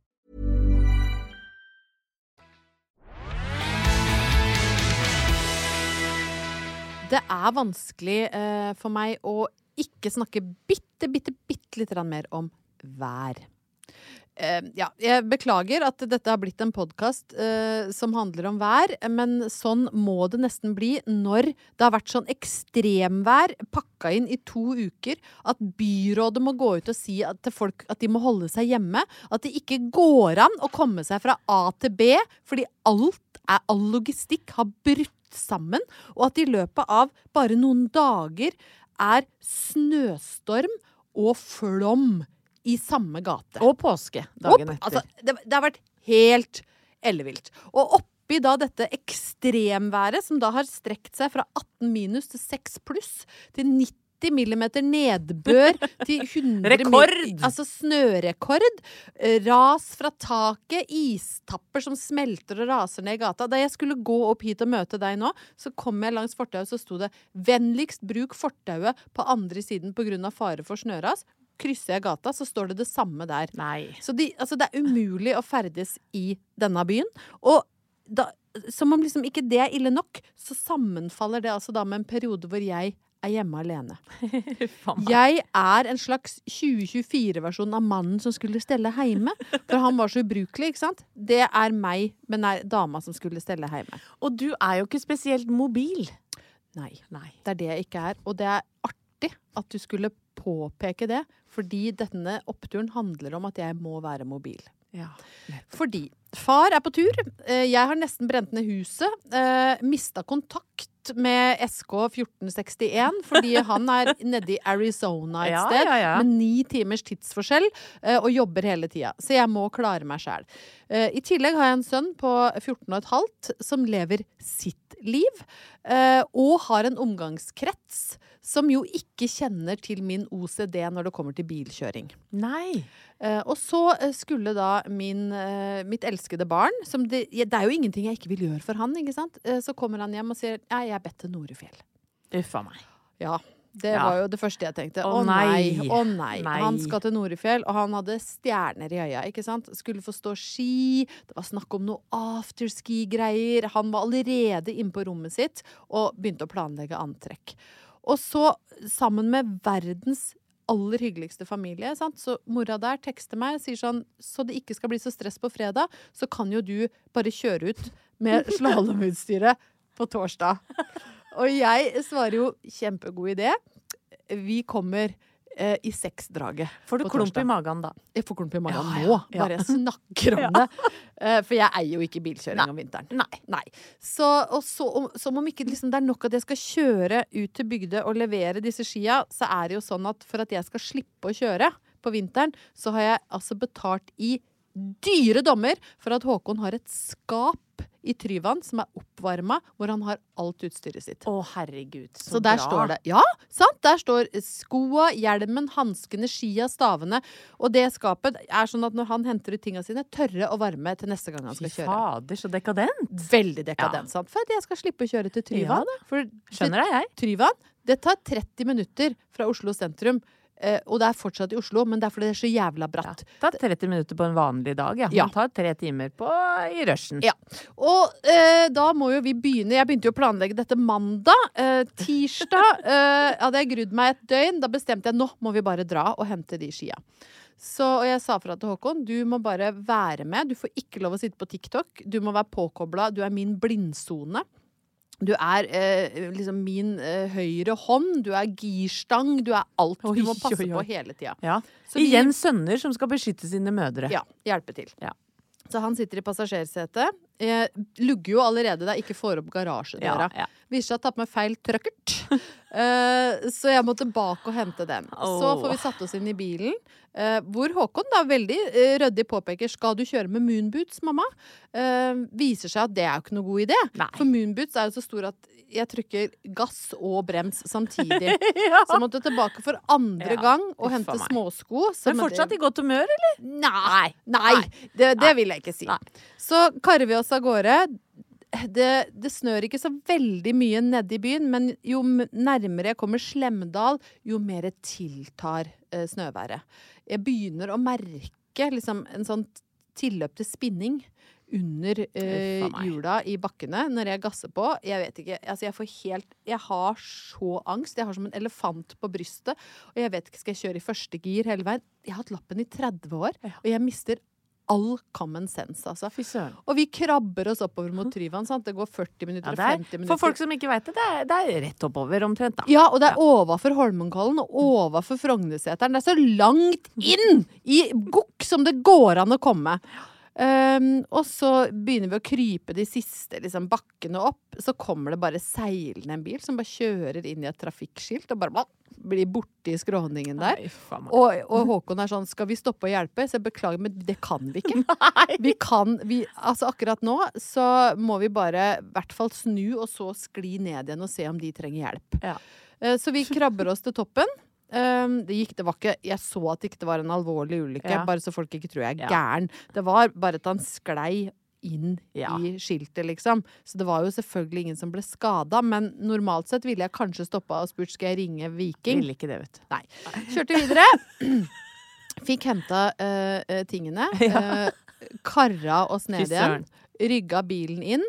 S4: Det er vanskelig eh, for meg å ikke snakke bitte, bitte, bitte litt mer om vær. Eh, ja, jeg beklager at dette har blitt en podkast eh, som handler om vær, men sånn må det nesten bli når det har vært sånn ekstremvær pakka inn i to uker at byrådet må gå ut og si at til folk at de må holde seg hjemme. At det ikke går an å komme seg fra A til B fordi alt er, all logistikk har brutt sammen, og at i løpet av bare noen dager er snøstorm og flom i samme gate.
S3: Og påske dagen etter.
S4: Altså, det, det har vært helt ellevilt. Og oppi da dette ekstremværet, som da har strekt seg fra 18 minus til 6 pluss, til 90 millimeter nedbør til 100 mil-
S3: Rekord!
S4: Altså snørekord. eh, Ras fra taket, istapper som smelter og raser ned i gata. Da jeg skulle gå opp hit og møte deg nå, så kom jeg langs fortauet, så sto det 'Vennligst bruk fortauet på andre siden pga. fare for snøras'. Krysser jeg gata, så står det det samme der. Så de, altså, det er umulig å ferdes i denne byen. Og da, som om liksom ikke det er ille nok, så sammenfaller det altså da med en periode hvor jeg er hjemme alene. Jeg er en slags 2024-versjon av mannen som skulle stelle heime. For han var så ubrukelig, ikke sant? Det er meg, men nei, dama som skulle stelle heime.
S3: Og du er jo ikke spesielt mobil.
S4: Nei. Det er det jeg ikke er. Og det er artig at du skulle påpeke det, fordi denne oppturen handler om at jeg må være mobil. Fordi far er på tur. Eh, Jeg har nesten brent ned huset. eh, Mista kontakt med SK1461 fordi han er nede i Arizona et
S3: Ja,
S4: sted
S3: ja, ja.
S4: med ni timers tidsforskjell eh, og jobber hele tida. Så jeg må klare meg sjæl. I tillegg har jeg en sønn på 14 15 som lever sitt liv. eh, Og har en omgangskrets som jo ikke kjenner til min OCD når det kommer til bilkjøring.
S3: Nei.
S4: Eh, og så eh, skulle da min, eh, mitt elskede barn som det, ja, det er jo ingenting jeg ikke vil gjøre for han, ikke sant? Eh, så kommer han hjem og sier Nei, jeg er bedt til Norefjell.
S3: Uffa meg.
S4: Ja. Det
S3: Ja.
S4: var jo det første jeg tenkte.
S3: Å
S4: Å nei,
S3: nei.
S4: å nei.
S3: Nei.
S4: Han skal til Norefjell, og han hadde stjerner i øya. ikke sant? Skulle få stå ski, det var snakk om noe afterski-greier. Han var allerede inne på rommet sitt og begynte å planlegge antrekk. Og så, sammen med verdens aller hyggeligste familie, sant? så mora der tekster meg og sier sånn Så det ikke skal bli så stress på fredag, så kan jo du bare kjøre ut med slalåmutstyret på torsdag. Og jeg svarer jo kjempegod idé. Vi kommer eh, i seksdraget.
S3: Får du
S4: på
S3: klump
S4: torsdag.
S3: i magen da?
S4: Jeg får klump i magen
S3: Ja, ja,
S4: nå,
S3: ja.
S4: bare jeg snakker om
S3: Ja.
S4: det. Eh, For jeg eier jo ikke bilkjøring om vinteren. Nei. Så, og så, om, som om ikke liksom, det er nok at jeg skal kjøre ut til Bygdøy og levere disse skia, så er det jo sånn at for at jeg skal slippe å kjøre på vinteren, så har jeg altså betalt i dyre dommer for at Håkon har et skap i Tryvann som er oppvarma, hvor han har alt utstyret sitt.
S3: Å, herregud. Så,
S4: Så, der
S3: bra.
S4: står det. Ja, sant? Der står skoa, hjelmen, hanskene, skia, stavene. Og det skapet er sånn at når han henter ut tinga sine, tørre og varme til neste gang han
S3: Fy
S4: skal kjøre.
S3: fader, så dekadent.
S4: Veldig dekadent, sant? For at jeg skal slippe å kjøre til
S3: Ja
S4: Tryvann.
S3: da.
S4: For
S3: Skjønner deg, jeg.
S4: Tryvann, det tar 30 minutter fra Oslo sentrum. Eh, og det er fortsatt i Oslo, men det er fordi det er så jævla bratt.
S3: Det tar 30 minutter på en vanlig dag, ja.
S4: Ja.
S3: Man tar tre timer på, i rushen.
S4: Ja. Og eh, da må jo vi begynne. Jeg begynte jo å planlegge dette mandag. Eh, tirsdag eh, hadde jeg grudd meg et døgn. Da bestemte jeg nå må vi bare dra og hente de skia. Så og jeg sa fra til Håkon du må bare være med. Du får ikke lov å sitte på TikTok. Du må være påkobla. Du er min blindsone. Du er eh, liksom min eh, høyre hånd. Du er girstang. Du er alt. Du må
S3: Oi,
S4: passe
S3: oi, oi.
S4: på hele tida.
S3: Ja.
S4: Så vi-
S3: Igjen sønner som skal beskytte sine mødre.
S4: Ja, hjelpe til.
S3: Ja.
S4: Så han sitter i passasjersetet. Eh, lugger jo allerede da jeg ikke får opp garasjedøra.
S3: Ja, ja.
S4: Viser seg å ha tatt med feil trøkkert. Eh, så jeg må tilbake og hente den. Så
S3: Åh.
S4: får vi satt oss inn i bilen, eh, hvor Håkon da veldig eh, ryddig påpeker skal du kjøre med moonboots, mamma. Eh, viser seg at det er jo ikke noe god idé.
S3: Nei.
S4: For moonboots er jo så stor at jeg trykker gass og brems samtidig. Så jeg måtte tilbake for andre
S3: Ja.
S4: gang og
S3: Uff a
S4: hente
S3: meg.
S4: småsko. som-
S3: Men fortsatt i godt humør, eller?
S4: Nei. Nei. Det, det vil jeg ikke si.
S3: Nei.
S4: Så karrer vi oss av gårde. Det, det snør ikke så veldig mye nede i byen, men jo m- nærmere jeg kommer Slemdal, jo mer tiltar eh, snøværet. Jeg begynner å merke liksom, en sånn tilløp til spinning under eh,
S3: Uffa meg.
S4: hjula i bakkene når jeg gasser på. Jeg vet ikke. Altså, jeg får helt Jeg har så angst. Jeg har som en elefant på brystet. Og jeg vet ikke, skal jeg kjøre i første gir hele veien? Jeg har hatt lappen i 30 år, og jeg mister all common sense, altså. Og vi krabber oss oppover mot Tryvann. sant? Det går 40
S3: Ja,
S4: minutter
S3: det er-
S4: og 50 minutter.
S3: for folk som ikke veit det, det er, det er rett oppover omtrent, da.
S4: Ja, og det er overfor Holmenkollen og overfor Frognerseteren. Det er så langt inn i gokk som det går an å komme. Ehm, og så begynner vi å krype de siste liksom, bakkene opp. Så kommer det bare seilende en bil som bare kjører inn i et trafikkskilt og bare blah, blir borte i skråningen der. og, og Håkon er sånn 'Skal vi stoppe og hjelpe?' Så jeg beklager, men det kan vi ikke. Vi kan vi, Altså, akkurat nå så må vi bare i hvert fall snu, og så skli ned igjen og se om de trenger hjelp. Eh, Så vi krabber oss til toppen. Um, det gikk, det var ikke, jeg så at det ikke var en alvorlig ulykke,
S3: Ja.
S4: bare så folk ikke tror jeg er
S3: Ja.
S4: gæren. Det var bare at han sklei inn
S3: Ja.
S4: i skiltet, liksom. Så det var jo selvfølgelig ingen som ble skada, men normalt sett ville jeg kanskje stoppa og spurt skal jeg ringe Viking.
S3: Ville ikke det, vet du.
S4: Nei. Kjørte videre. Fikk henta eh, eh, tingene.
S3: Ja.
S4: eh, karra oss ned
S3: Fy
S4: igjen.
S3: søren.
S4: Rygga bilen inn.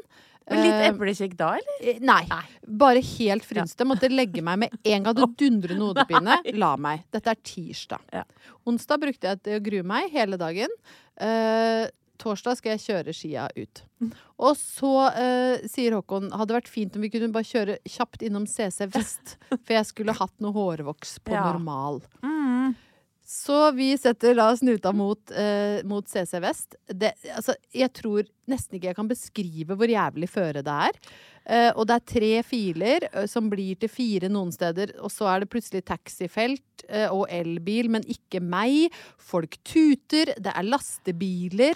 S3: Men litt
S4: Eh,
S3: eplekjekk da, eller?
S4: Eh, Nei. Bare helt frynste. Måtte legge meg med en gang det dundrende hodepine. La meg. Dette er tirsdag. Onsdag brukte jeg til å grue meg hele dagen. Eh, torsdag skal jeg kjøre skia ut. Og så eh, sier Håkon hadde vært fint om vi kunne bare kjøre kjapt innom CC Vest. For jeg skulle hatt noe hårvoks på
S3: Ja.
S4: normal. Så vi setter da snuta mot, eh, mot CC Vest. Det, altså, jeg tror nesten ikke jeg kan beskrive hvor jævlig føre det er. Eh, og det er tre filer eh, som blir til fire noen steder, og så er det plutselig taxifelt eh, og elbil, men ikke meg. Folk tuter, det er lastebiler.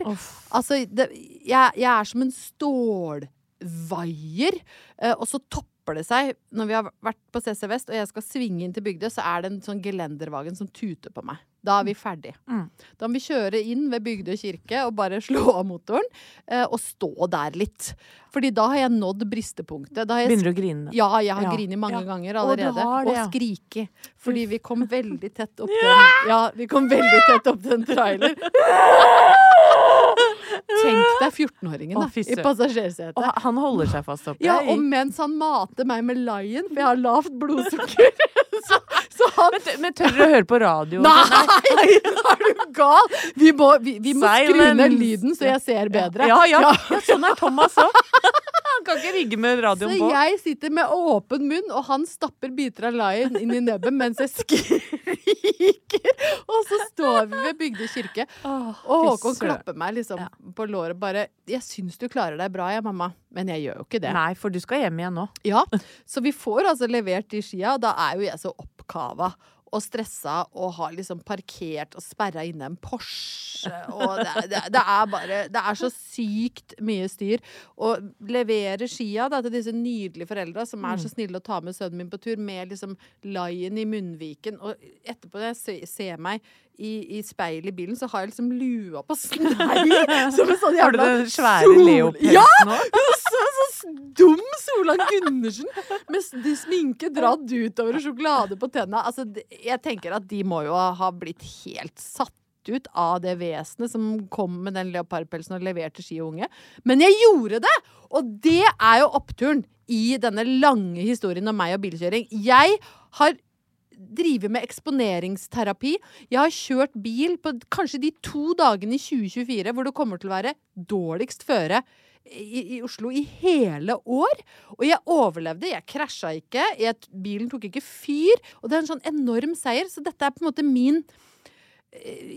S4: Altså, det, jeg, jeg er som en stålvaier, eh, og så topper det seg, Når vi har vært på CC Vest og jeg skal svinge inn til Bygdøy, så er det en sånn gelendervagen som tuter på meg. Da er vi ferdig.
S3: Mm.
S4: Da må vi kjøre inn ved Bygdøy kirke og bare slå av motoren. eh, Og stå der litt. Fordi da har jeg nådd bristepunktet. Da har jeg
S3: Begynner du å grine?
S4: Ja, jeg har
S3: Ja.
S4: grinet mange
S3: Ja. Å,
S4: ganger
S3: du
S4: allerede.
S3: har det,
S4: og
S3: ja.
S4: skrike. Fordi vi kom veldig tett opp den Ja, vi kom veldig tett opp til en trailer. Tenk deg 14-åringen da,
S3: Å, fy
S4: i
S3: søren.
S4: passasjersetet.
S3: Og han- han holder seg fast oppe.
S4: Ja, og mens han mater meg med Lion, for jeg har lavt blodsukker. Så, så han
S3: men, men tør dere å høre på radio?
S4: Nei! Er du gal? Vi må, vi, vi må skru
S3: Silence.
S4: ned lyden, så jeg ser bedre.
S3: Ja, ja. ja sånn er Thomas òg. Han kan ikke rigge med
S4: Så
S3: radioen på.
S4: jeg sitter med åpen munn, og han stapper biter av lion inn i nebbet mens jeg skriker. Og så står vi ved Bygdøy kirke, og
S3: fy
S4: Håkon
S3: søren.
S4: klapper meg liksom på låret bare 'Jeg syns du klarer deg bra, jeg, mamma', men jeg gjør jo ikke det.
S3: Nei, for du skal hjem igjen nå.
S4: Ja, Så vi får altså levert de skia, og da er jo jeg så oppkava. Og stressa og har liksom parkert og sperra inne en Porsche. Og det, er- det, er- det er bare Det er så sykt mye styr. Og leverer skia da, til disse nydelige foreldra som
S3: Mm.
S4: er så snille å ta med sønnen min på tur, med liksom Lion i munnviken. Og etterpå, når jeg se- ser meg i, i speilet i bilen, så har jeg liksom lua på snei! Som en sånn
S3: Har du
S4: jævla
S3: den svære
S4: sol-
S3: Leo-pelsen
S4: Ja!
S3: nå?
S4: Så, så dum Solan Gundersen! Med s- de sminke dratt utover og sjokolade på tenna. Altså, d- jeg tenker at de må jo ha blitt helt satt ut av det vesenet som kom med den leopardpelsen og leverte ski og unge. Men jeg gjorde det! Og det er jo oppturen i denne lange historien om meg og bilkjøring. Jeg har drive med eksponeringsterapi. Jeg har kjørt bil på kanskje de to dagene i 2024 hvor det kommer til å være dårligst føre i, i Oslo i hele år. Og jeg overlevde. Jeg krasja ikke. Jeg, bilen tok ikke fyr. Og det er en sånn enorm seier, så dette er på en måte min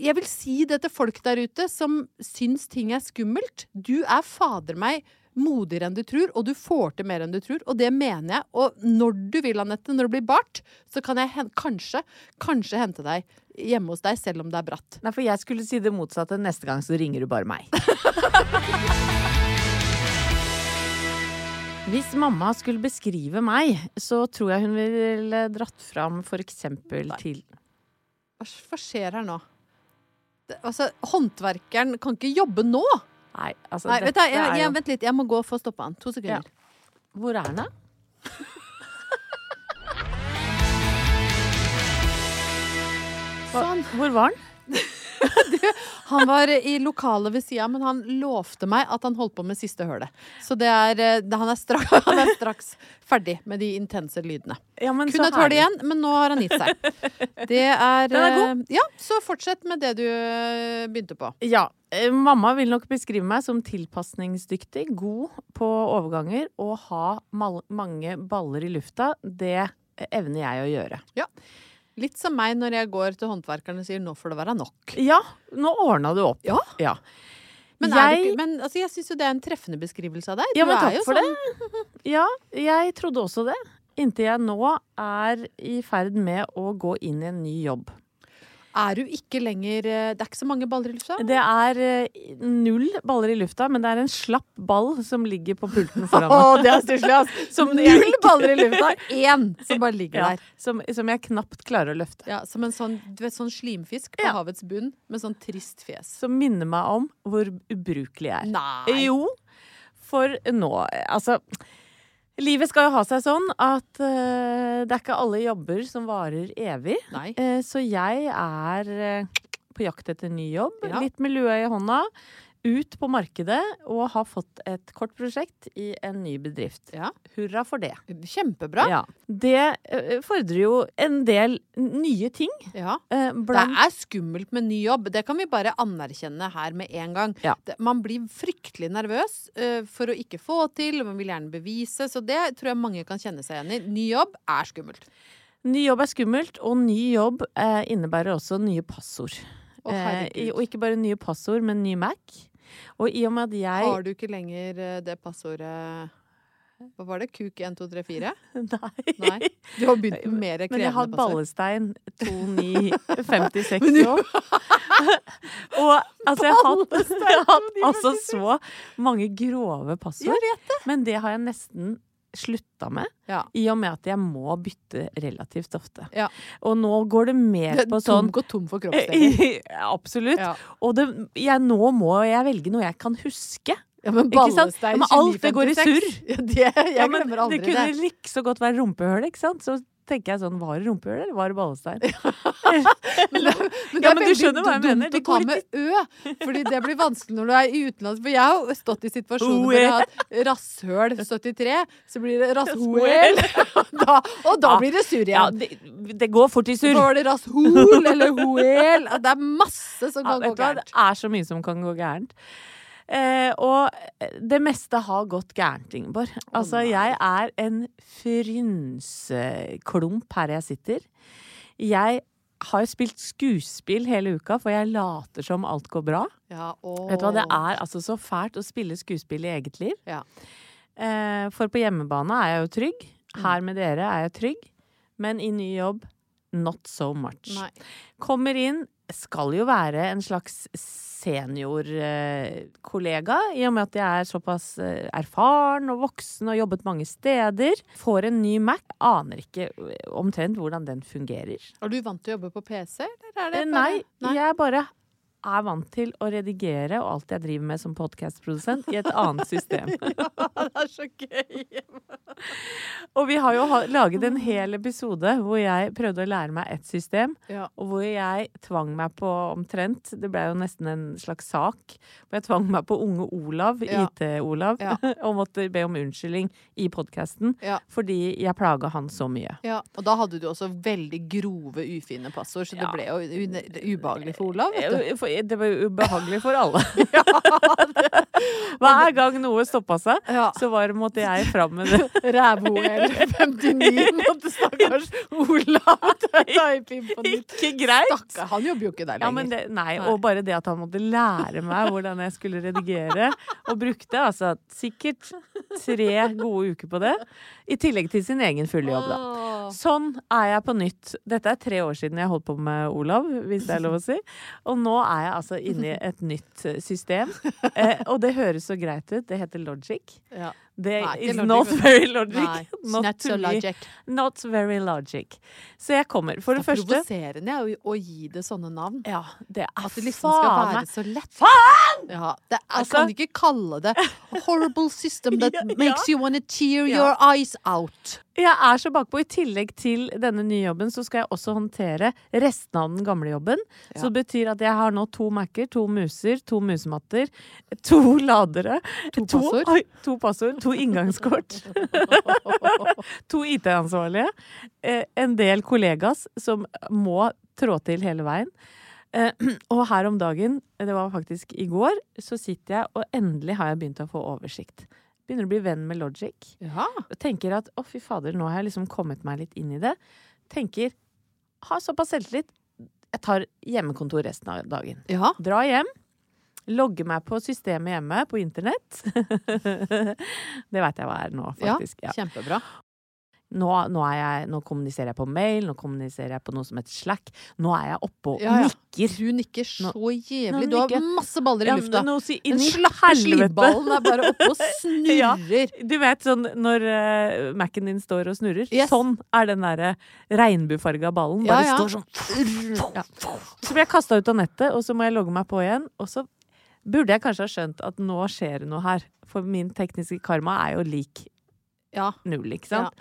S4: jeg vil si det til folk der ute som syns ting er skummelt. Du er fader meg modigere enn du tror, og du får til mer enn du tror. Og det mener jeg. Og når du vil, Anette, når det blir bart, så kan jeg hen kanskje, kanskje hente deg hjemme hos deg, selv om det er bratt.
S3: Nei, for jeg skulle si det motsatte. Neste gang så ringer du bare meg. Hvis mamma skulle beskrive meg, så tror jeg hun ville dratt fram for eksempel til
S4: Hva, s- hva skjer her nå? Det, altså, håndverkeren kan ikke jobbe nå!
S3: Nei, altså
S4: Nei, vet du,
S3: dette
S4: jeg, jeg,
S3: er jo-
S4: vent litt, jeg må gå og få stoppa han. To sekunder.
S3: Ja. Hvor er den, da? Hva-
S4: Sånn.
S3: Sånn. Hvor var den?
S4: Han var i lokalet ved sida, men han lovte meg at han holdt på med siste hølet. Så det er, eh, det, han, er straks, han er straks ferdig med de intense lydene.
S3: Ja, men
S4: Kun
S3: så
S4: et høl
S3: herlig.
S4: igjen, men nå har han gitt seg. Det er,
S3: Den er god.
S4: eh, Ja, så fortsett med det du eh, begynte på.
S3: Ja. eh, Mamma vil nok beskrive meg som tilpasningsdyktig, god på overganger og ha mal mange baller i lufta. Det eh, evner jeg å gjøre.
S4: Ja. Litt som meg når jeg går til håndverkerne og sier 'nå får det være nok'.
S3: Ja, nå ordna du opp.
S4: Ja.
S3: ja.
S4: Men, jeg...
S3: Jeg-
S4: ikke, men altså, jeg syns jo det er en treffende beskrivelse av deg.
S3: Ja, men
S4: er
S3: takk
S4: jo sånn,
S3: for Ja, jeg trodde også det. Inntil jeg nå er i ferd med å gå inn i en ny jobb.
S4: Er du ikke lenger eh, Det er ikke så mange baller liksom. i lufta?
S3: Det er eh, null baller i lufta, men det er en slapp ball som ligger på pulten foran meg.
S4: Å, det er stusslig, ass.
S3: Som jeg
S4: Null
S3: ikke-
S4: baller i lufta, én som bare ligger
S3: Ja,
S4: der.
S3: som, som jeg knapt klarer å løfte.
S4: Ja, som en sånn, du vet, sånn slimfisk på
S3: Ja.
S4: havets bunn med sånn trist fjes.
S3: Som minner meg om hvor ubrukelig jeg er.
S4: Nei!
S3: Jo, for nå Altså, livet skal jo ha seg sånn at eh, det er ikke alle jobber som varer evig.
S4: Nei.
S3: Eh, så jeg er eh, på jakt etter ny jobb.
S4: Ja.
S3: Litt med lua i hånda. Ut på markedet og har fått et kort prosjekt i en ny bedrift.
S4: Ja.
S3: Hurra for det.
S4: Kjempebra.
S3: Ja. Det eh, fordrer jo en del nye ting.
S4: Ja.
S3: eh,
S4: Det
S3: blant
S4: er skummelt med ny jobb, det kan vi bare anerkjenne her med en gang.
S3: Ja.
S4: Det- Man blir fryktelig nervøs eh, for å ikke få til, og man vil gjerne bevise, så det tror jeg mange kan kjenne seg igjen i. Ny jobb er skummelt.
S3: Ny jobb er skummelt, og ny jobb eh, innebærer også nye passord. Eh,
S4: Å, herregud.
S3: i- og ikke bare nye passord, men ny Mac. Og i og med at jeg
S4: Har du ikke lenger eh, det passordet Hva var det? Kuk 1234?
S3: Nei.
S4: Nei. Du har begynt med
S3: Men
S4: mer
S3: jeg
S4: krevende
S3: har
S4: passord.
S3: Ballestein 2956 nå. Og altså, jeg har hatt, jeg har hatt altså så mange grove
S4: Jeg
S3: passord. Men det har jeg nesten slutta med,
S4: Ja.
S3: i og med at jeg må bytte relativt ofte.
S4: Ja.
S3: Og nå går det mer
S4: Det
S3: på
S4: er
S3: sånn
S4: tom, gå tom for kroppsdeler.
S3: Absolutt.
S4: Ja.
S3: Og det, jeg, nå må jeg velge noe jeg kan huske.
S4: Ja, men
S3: Ikke sant?
S4: Ballestein
S3: Men alt det går i
S4: 2956.
S3: surr.
S4: Ja, det, jeg
S3: Ja, men
S4: glemmer aldri
S3: det
S4: det.
S3: kunne like så godt være rumpehøl, ikke sant? Så tenker jeg sånn, var det rumpehøl, eller var det ballestein?
S4: Men det, men
S3: Ja,
S4: det er
S3: men du
S4: veldig
S3: skjønner hva jeg
S4: dumt
S3: mener.
S4: å
S3: Det
S4: ta
S3: går
S4: med ø, fordi det blir vanskelig når du er i utenlands. For jeg har jo stått i situasjoner hvor jeg har hatt rasshøl 73, så blir det rasshoel. Da, og da
S3: Ja.
S4: blir det sur
S3: ja,
S4: igjen.
S3: det, det går fort i
S4: Så
S3: surr.
S4: var det rasshol eller hoel. Ja, Det er masse som
S3: Ja,
S4: kan
S3: vet
S4: gå
S3: du hva? Det
S4: gærent.
S3: er så mye som kan gå gærent. Eh, og det meste har gått gærent, Ingeborg. Altså, jeg er en frynseklump her jeg sitter. Jeg har spilt skuespill hele uka, for jeg later som alt går bra.
S4: Ja,
S3: Vet du hva, Det
S4: åh.
S3: er altså så fælt å spille skuespill i eget liv.
S4: Ja.
S3: Eh, for på hjemmebane er jeg jo trygg.
S4: Mm.
S3: Her med dere er jeg trygg. Men i ny jobb, not so much.
S4: Nei.
S3: Kommer inn, skal jo være en slags seniorkollega, i og med at jeg er såpass eh, erfaren og voksen og jobbet mange steder. Får en ny Mac, aner ikke eh, omtrent hvordan den fungerer.
S4: Er du vant til å jobbe på PC, eller er det
S3: Eh,
S4: bare-
S3: Nei, jeg bare er vant til å redigere og alt jeg driver med som podkastprodusent, i et annet system.
S4: Det er så gøy.
S3: Og vi har jo ha- laget en hel episode hvor jeg prøvde å lære meg ett system,
S4: Ja.
S3: og hvor jeg tvang meg på omtrent Det ble jo nesten en slags sak. Hvor jeg tvang meg på unge Olav,
S4: Ja.
S3: IT-Olav,
S4: Ja.
S3: og måtte be om unnskyldning i podkasten
S4: Ja.
S3: fordi jeg plaga han så mye.
S4: Ja, og da hadde du også veldig grove, ufine passord, så
S3: Ja.
S4: det ble jo u- ubehagelig for Olav, vet du.
S3: Eh, for- Det var jo ubehagelig for alle. Hver gang noe stoppa seg,
S4: Ja.
S3: så var, måtte jeg fram med det.
S4: Rævhoel 59 måtte stakkars Olav type inn på nytt.
S3: Ikke greit!
S4: Stakkar, han jobber jo ikke der lenger.
S3: Ja, men det, nei,
S4: Nei.
S3: og bare det at han måtte lære meg hvordan jeg skulle redigere, og brukte altså sikkert tre gode uker på det, i tillegg til sin egen fulle jobb, da.
S4: Åh.
S3: Sånn er jeg på nytt. Dette er tre år siden jeg holdt på med Olav, hvis det er lov å si. Og nå er jeg altså inni et nytt eh, system. Eh, og det høres så greit ut. Det heter Logic.
S4: Ja.
S3: Det
S4: Nei, ikke
S3: is
S4: logic,
S3: not
S4: vet du.
S3: very logic.
S4: Nei,
S3: not
S4: not
S3: to
S4: so
S3: me.
S4: logic.
S3: Not very logic. Så jeg kommer. For det,
S4: Det er
S3: første
S4: provoserende å, å gi det sånne navn.
S3: Ja, det er
S4: At det liksom skal
S3: faen
S4: være
S3: meg-
S4: så lett.
S3: Faen!
S4: Ja, det er,
S3: Altså-
S4: kan du ikke kalle det 'horrible system that
S3: Ja, ja.
S4: makes you wanna tear
S3: Ja.
S4: your eyes out'.
S3: Jeg er så bakpå. I tillegg til denne nye jobben, så skal jeg også håndtere restene av den gamle jobben. Så det betyr at jeg har nå to Mac-er, to muser, to musematter, to ladere. To
S4: passord.
S3: oi, to passord. To inngangskort. to IT-ansvarlige. eh, En del kollegas som må trå til hele veien. Eh, Og her om dagen, det var faktisk i går, så sitter jeg og endelig har jeg begynt å få oversikt. Begynner å bli venn med Logic. Og tenker at å, fy fader, nå har jeg liksom kommet meg litt inn i det. Tenker ha såpass selvtillit. Jeg tar hjemmekontor resten av dagen. Dra hjem. Logge meg på systemet hjemme, på internett. det veit jeg hva er nå,
S4: Ja,
S3: faktisk.
S4: kjempebra.
S3: Nå, nå, er jeg, nå kommuniserer jeg på mail, nå kommuniserer jeg på noe som heter Slack. Nå er jeg oppe og
S4: Ja, ja.
S3: nikker.
S4: Du nikker så
S3: Nå
S4: jævlig. Du har
S3: nikker-
S4: masse baller i
S3: Ja,
S4: lufta.
S3: men nå si-
S4: Den
S3: inn i
S4: slappe
S3: helvete.
S4: slidballen er bare oppe og
S3: Ja.
S4: snurrer.
S3: Du vet sånn når eh, Mac-en din står og snurrer?
S4: Yes.
S3: Sånn er den derre regnbuefarga ballen.
S4: Ja,
S3: Bare
S4: ja.
S3: står sånn. Ja. Så blir jeg kasta ut av nettet, og så må jeg logge meg på igjen. Og så burde jeg kanskje ha skjønt at nå skjer det noe her. For min tekniske karma er jo lik null, ikke sant?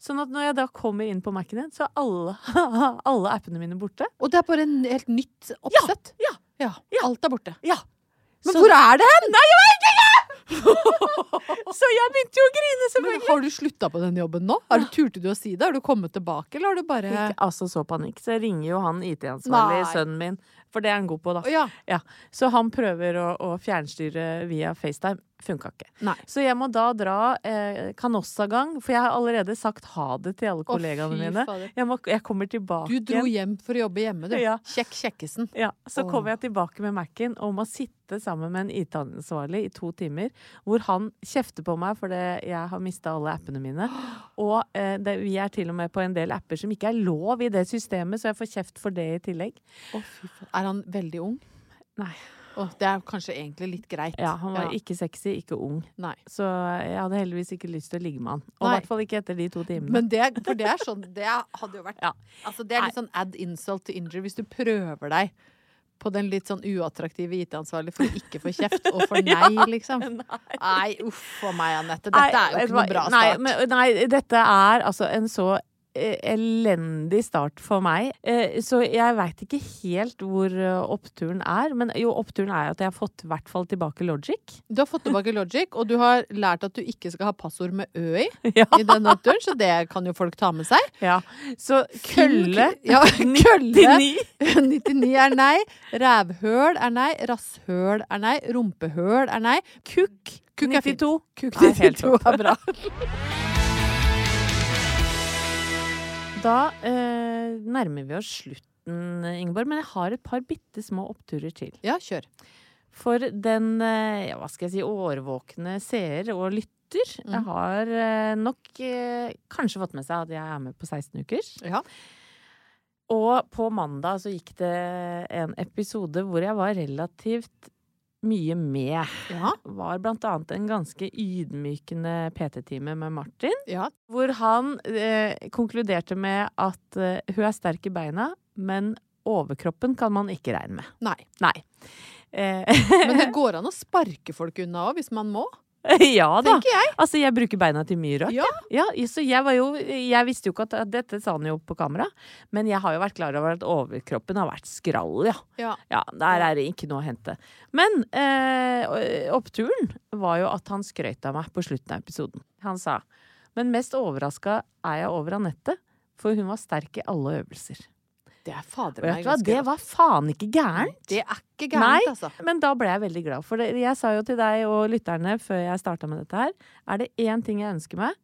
S3: Sånn at når jeg da kommer inn på Mac-en din, så er alle, alle appene mine borte.
S4: Og det er bare en helt nytt oppsett.
S3: Ja,
S4: ja, Alt er borte.
S3: Ja.
S4: Men
S3: Så-
S4: hvor er det hen?!
S3: Nei, jeg vet ikke! så jeg begynte jo å grine,
S4: Men
S3: selvfølgelig.
S4: har du slutta på den jobben nå? Har du Turte du å si det? Har du kommet tilbake, eller har du bare
S3: Fikk altså så panikk. Så jeg ringer jo han IT-ansvarlige
S4: Nei.
S3: sønnen min, for det er han god på, da.
S4: Å, ja.
S3: Så han prøver å, å fjernstyre via FaceTime. Funka ikke.
S4: Nei.
S3: Så jeg må da dra eh, Kanossagang, for jeg har allerede sagt ha det til alle
S4: Å,
S3: kollegaene
S4: fy
S3: mine.
S4: fader.
S3: Jeg, må, jeg kommer tilbake
S4: Du dro hjem for å jobbe hjemme, du.
S3: Ja.
S4: Kjekk kjekkesen.
S3: Ja, Så
S4: Åh.
S3: kommer jeg tilbake med Mac-en og må sitte sammen med en IT-ansvarlig i to timer, hvor han kjefter på meg fordi jeg har mista alle appene mine. Og eh, det, vi er til og med på en del apper som ikke er lov i det systemet, så jeg får kjeft for det i tillegg.
S4: Er han veldig ung?
S3: Nei.
S4: Å, det er kanskje egentlig litt greit.
S3: Ja, Han var ikke sexy, ikke ung.
S4: Nei.
S3: Så jeg hadde heldigvis ikke lyst til å ligge med han. Og i
S4: Nei.
S3: hvert fall ikke etter de to timene.
S4: Men det, for det er sånn Det hadde jo vært altså Det er litt sånn add insult to injury hvis du prøver deg på den litt sånn uattraktive IT-ansvarlige for å ikke få kjeft og for nei, liksom. Nei, uff a meg, Anette. Dette
S3: vet
S4: er jo
S3: du
S4: ikke noe
S3: hva?
S4: bra
S3: nei,
S4: start.
S3: men, nei, dette er altså en så eh, elendig start for meg. Eh, Så jeg veit ikke helt hvor eh, oppturen er. Men jo, oppturen er jo at jeg har fått i hvert fall tilbake Logic.
S4: Du har fått tilbake Logic, og du har lært at du ikke skal ha passord med ø i. I den oppturen, Så det kan jo folk ta med seg.
S3: Ja. Så kølle
S4: Ja, kølle.
S3: 99.
S4: 99 er nei. Rævhøl er nei. Rasshøl er nei. Rumpehøl er nei. Kukk. Kukk er fint.
S3: 92.
S4: Kukk
S3: Nei, helt
S4: 92 er bra.
S3: Da eh, nærmer vi oss slutten, Ingeborg. Men jeg har et par bitte små oppturer til.
S4: Ja, kjør.
S3: For den, eh, ja, hva skal jeg si, årvåkne seer og lytter jeg har eh, nok eh, kanskje fått med seg at jeg er med på 16 ukers.
S4: Ja.
S3: Og på mandag så gikk det en episode hvor jeg var relativt mye med.
S4: Ja.
S3: Var blant annet en ganske ydmykende PT-time med Martin.
S4: Ja.
S3: Hvor han eh, konkluderte med at eh, hun er sterk i beina, men overkroppen kan man ikke regne med.
S4: Nei.
S3: Nei. Eh,
S4: Men det går an å sparke folk unna òg, hvis man må.
S3: ja da.
S4: Tenker jeg.
S3: Altså, jeg bruker beina til mye rart.
S4: Ja.
S3: Ja, så jeg var jo Jeg visste jo ikke at at Dette sa han jo på kamera, men jeg har jo vært klar over at overkroppen har vært skrall, ja.
S4: Ja.
S3: Ja, der er det ikke noe å hente. Men eh, oppturen var jo at han skrøt av meg på slutten av episoden. Han sa Men mest overraska er jeg over Anette, for hun var sterk i alle øvelser.
S4: Det er fader
S3: Og
S4: meg
S3: vet du hva,
S4: ganske
S3: det var faen ikke gærent!
S4: Det er ikke
S3: Nei,
S4: gærent, altså.
S3: men da ble jeg veldig glad. For det, jeg sa jo til deg og lytterne før jeg starta med dette her, er det én ting jeg ønsker meg,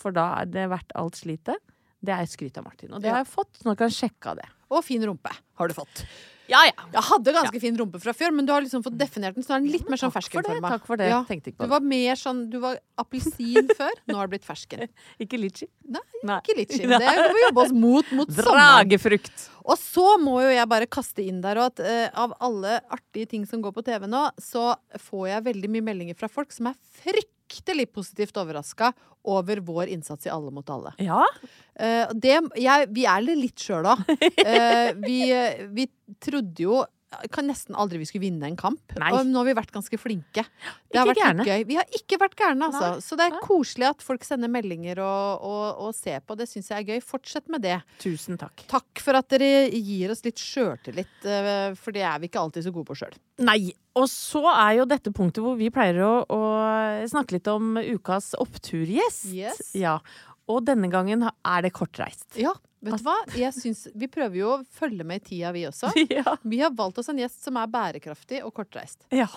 S3: for da er det verdt alt slitet, det er skryt av Martin. Og det
S4: Ja.
S3: har jeg fått, så nå kan jeg sjekke av det.
S4: Og fin rumpe har du fått.
S3: Ja, ja.
S4: Jeg hadde ganske fin rumpe fra før, men du har liksom fått definert den. Så er den litt mer sånn
S3: takk for det,
S4: ferskenforma.
S3: takk for det. Tenkte ikke på
S4: du var mer sånn Du var appelsin før, nå har det blitt fersken.
S3: Ikke litchi.
S4: Nei,
S3: Nei.
S4: ikke litt skinn. Det må vi jobbe oss mot mot sommeren.
S3: Dragefrukt.
S4: Og så må jo jeg bare kaste inn der og at eh, av alle artige ting som går på TV nå, så får jeg veldig mye meldinger fra folk som er fryktelig positivt overraska over vår innsats i Alle mot alle.
S3: Ja.
S4: Eh, og det, jeg, vi er det litt sjøl òg. vi, eh, vi trodde jo kan nesten aldri vi skulle vinne en kamp.
S3: Nei.
S4: Og nå har vi vært ganske flinke. Det har
S3: Ikke
S4: vært litt
S3: gærne.
S4: gøy. Vi har ikke vært gærne, altså.
S3: Nei.
S4: Så det er koselig at folk sender meldinger og, og, og ser på. Det syns jeg er gøy. Fortsett med det.
S3: Tusen takk.
S4: Takk for at dere gir oss litt sjøltillit, eh, for det er vi ikke alltid så gode på sjøl.
S3: Nei. Og så er jo dette punktet hvor vi pleier å, å snakke litt om ukas oppturgjest.
S4: Yes.
S3: Ja. Og denne gangen er det kortreist.
S4: Ja, vet du hva? Jeg synes, vi prøver jo å følge med i tida, vi også.
S3: Ja.
S4: Vi har valgt oss en gjest som er bærekraftig og kortreist.
S3: Ja.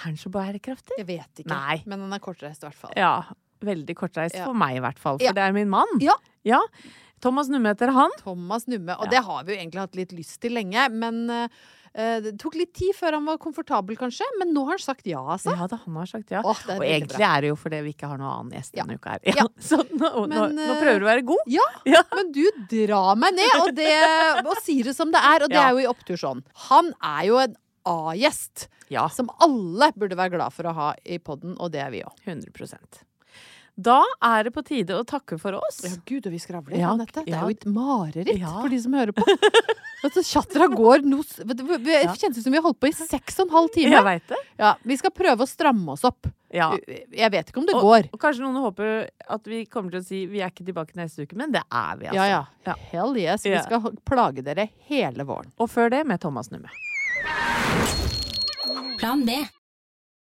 S3: Er den så bærekraftig?
S4: Jeg vet ikke,
S3: Nei.
S4: men han er kortreist i hvert fall.
S3: Ja. Veldig kortreist
S4: Ja.
S3: for meg, i hvert fall. For
S4: Ja.
S3: det er min mann.
S4: Ja.
S3: ja. Thomas Numme heter han.
S4: Thomas Numme. Og
S3: Ja.
S4: det har vi jo egentlig hatt litt lyst til lenge, men eh, eh, det tok litt tid før han var komfortabel, kanskje. Men nå har han sagt ja, altså.
S3: Ja da, han har sagt ja.
S4: Åh, det er
S3: og
S4: veldig
S3: egentlig
S4: bra.
S3: er det jo fordi vi ikke har noen annen gjest
S4: Ja.
S3: denne uka her.
S4: Ja.
S3: Så nå, nå,
S4: Men,
S3: nå
S4: eh,
S3: prøver du å være god.
S4: Ja,
S3: Ja.
S4: men du drar meg ned og, det, og sier det som det er, og det
S3: Ja.
S4: er jo i opptur sånn. Han er jo en A-gjest
S3: Ja.
S4: som alle burde være glad for å ha i podden, og det er vi òg.
S3: 100 Da er det på tide å takke for oss.
S4: Ja, gud, og vi skravler
S3: Ja,
S4: om dette. Det
S3: ja.
S4: er jo et mareritt
S3: Ja.
S4: for de som hører på. Altså, Chatra går noe s- vet du, vi- vi-
S3: Ja.
S4: Det kjentes som vi har holdt på i seks og en halv
S3: Jeg
S4: time.
S3: veit det.
S4: Ja, vi skal prøve å stramme oss opp.
S3: Ja.
S4: Jeg vet ikke om det
S3: Og,
S4: går.
S3: og kanskje noen håper at vi kommer til å si vi er ikke tilbake neste uke, men det er vi, altså.
S4: Ja, ja. Hell yes. Vi
S3: Ja.
S4: skal h- plage dere hele våren.
S3: Og før det med Thomas Numme.
S8: Plan B.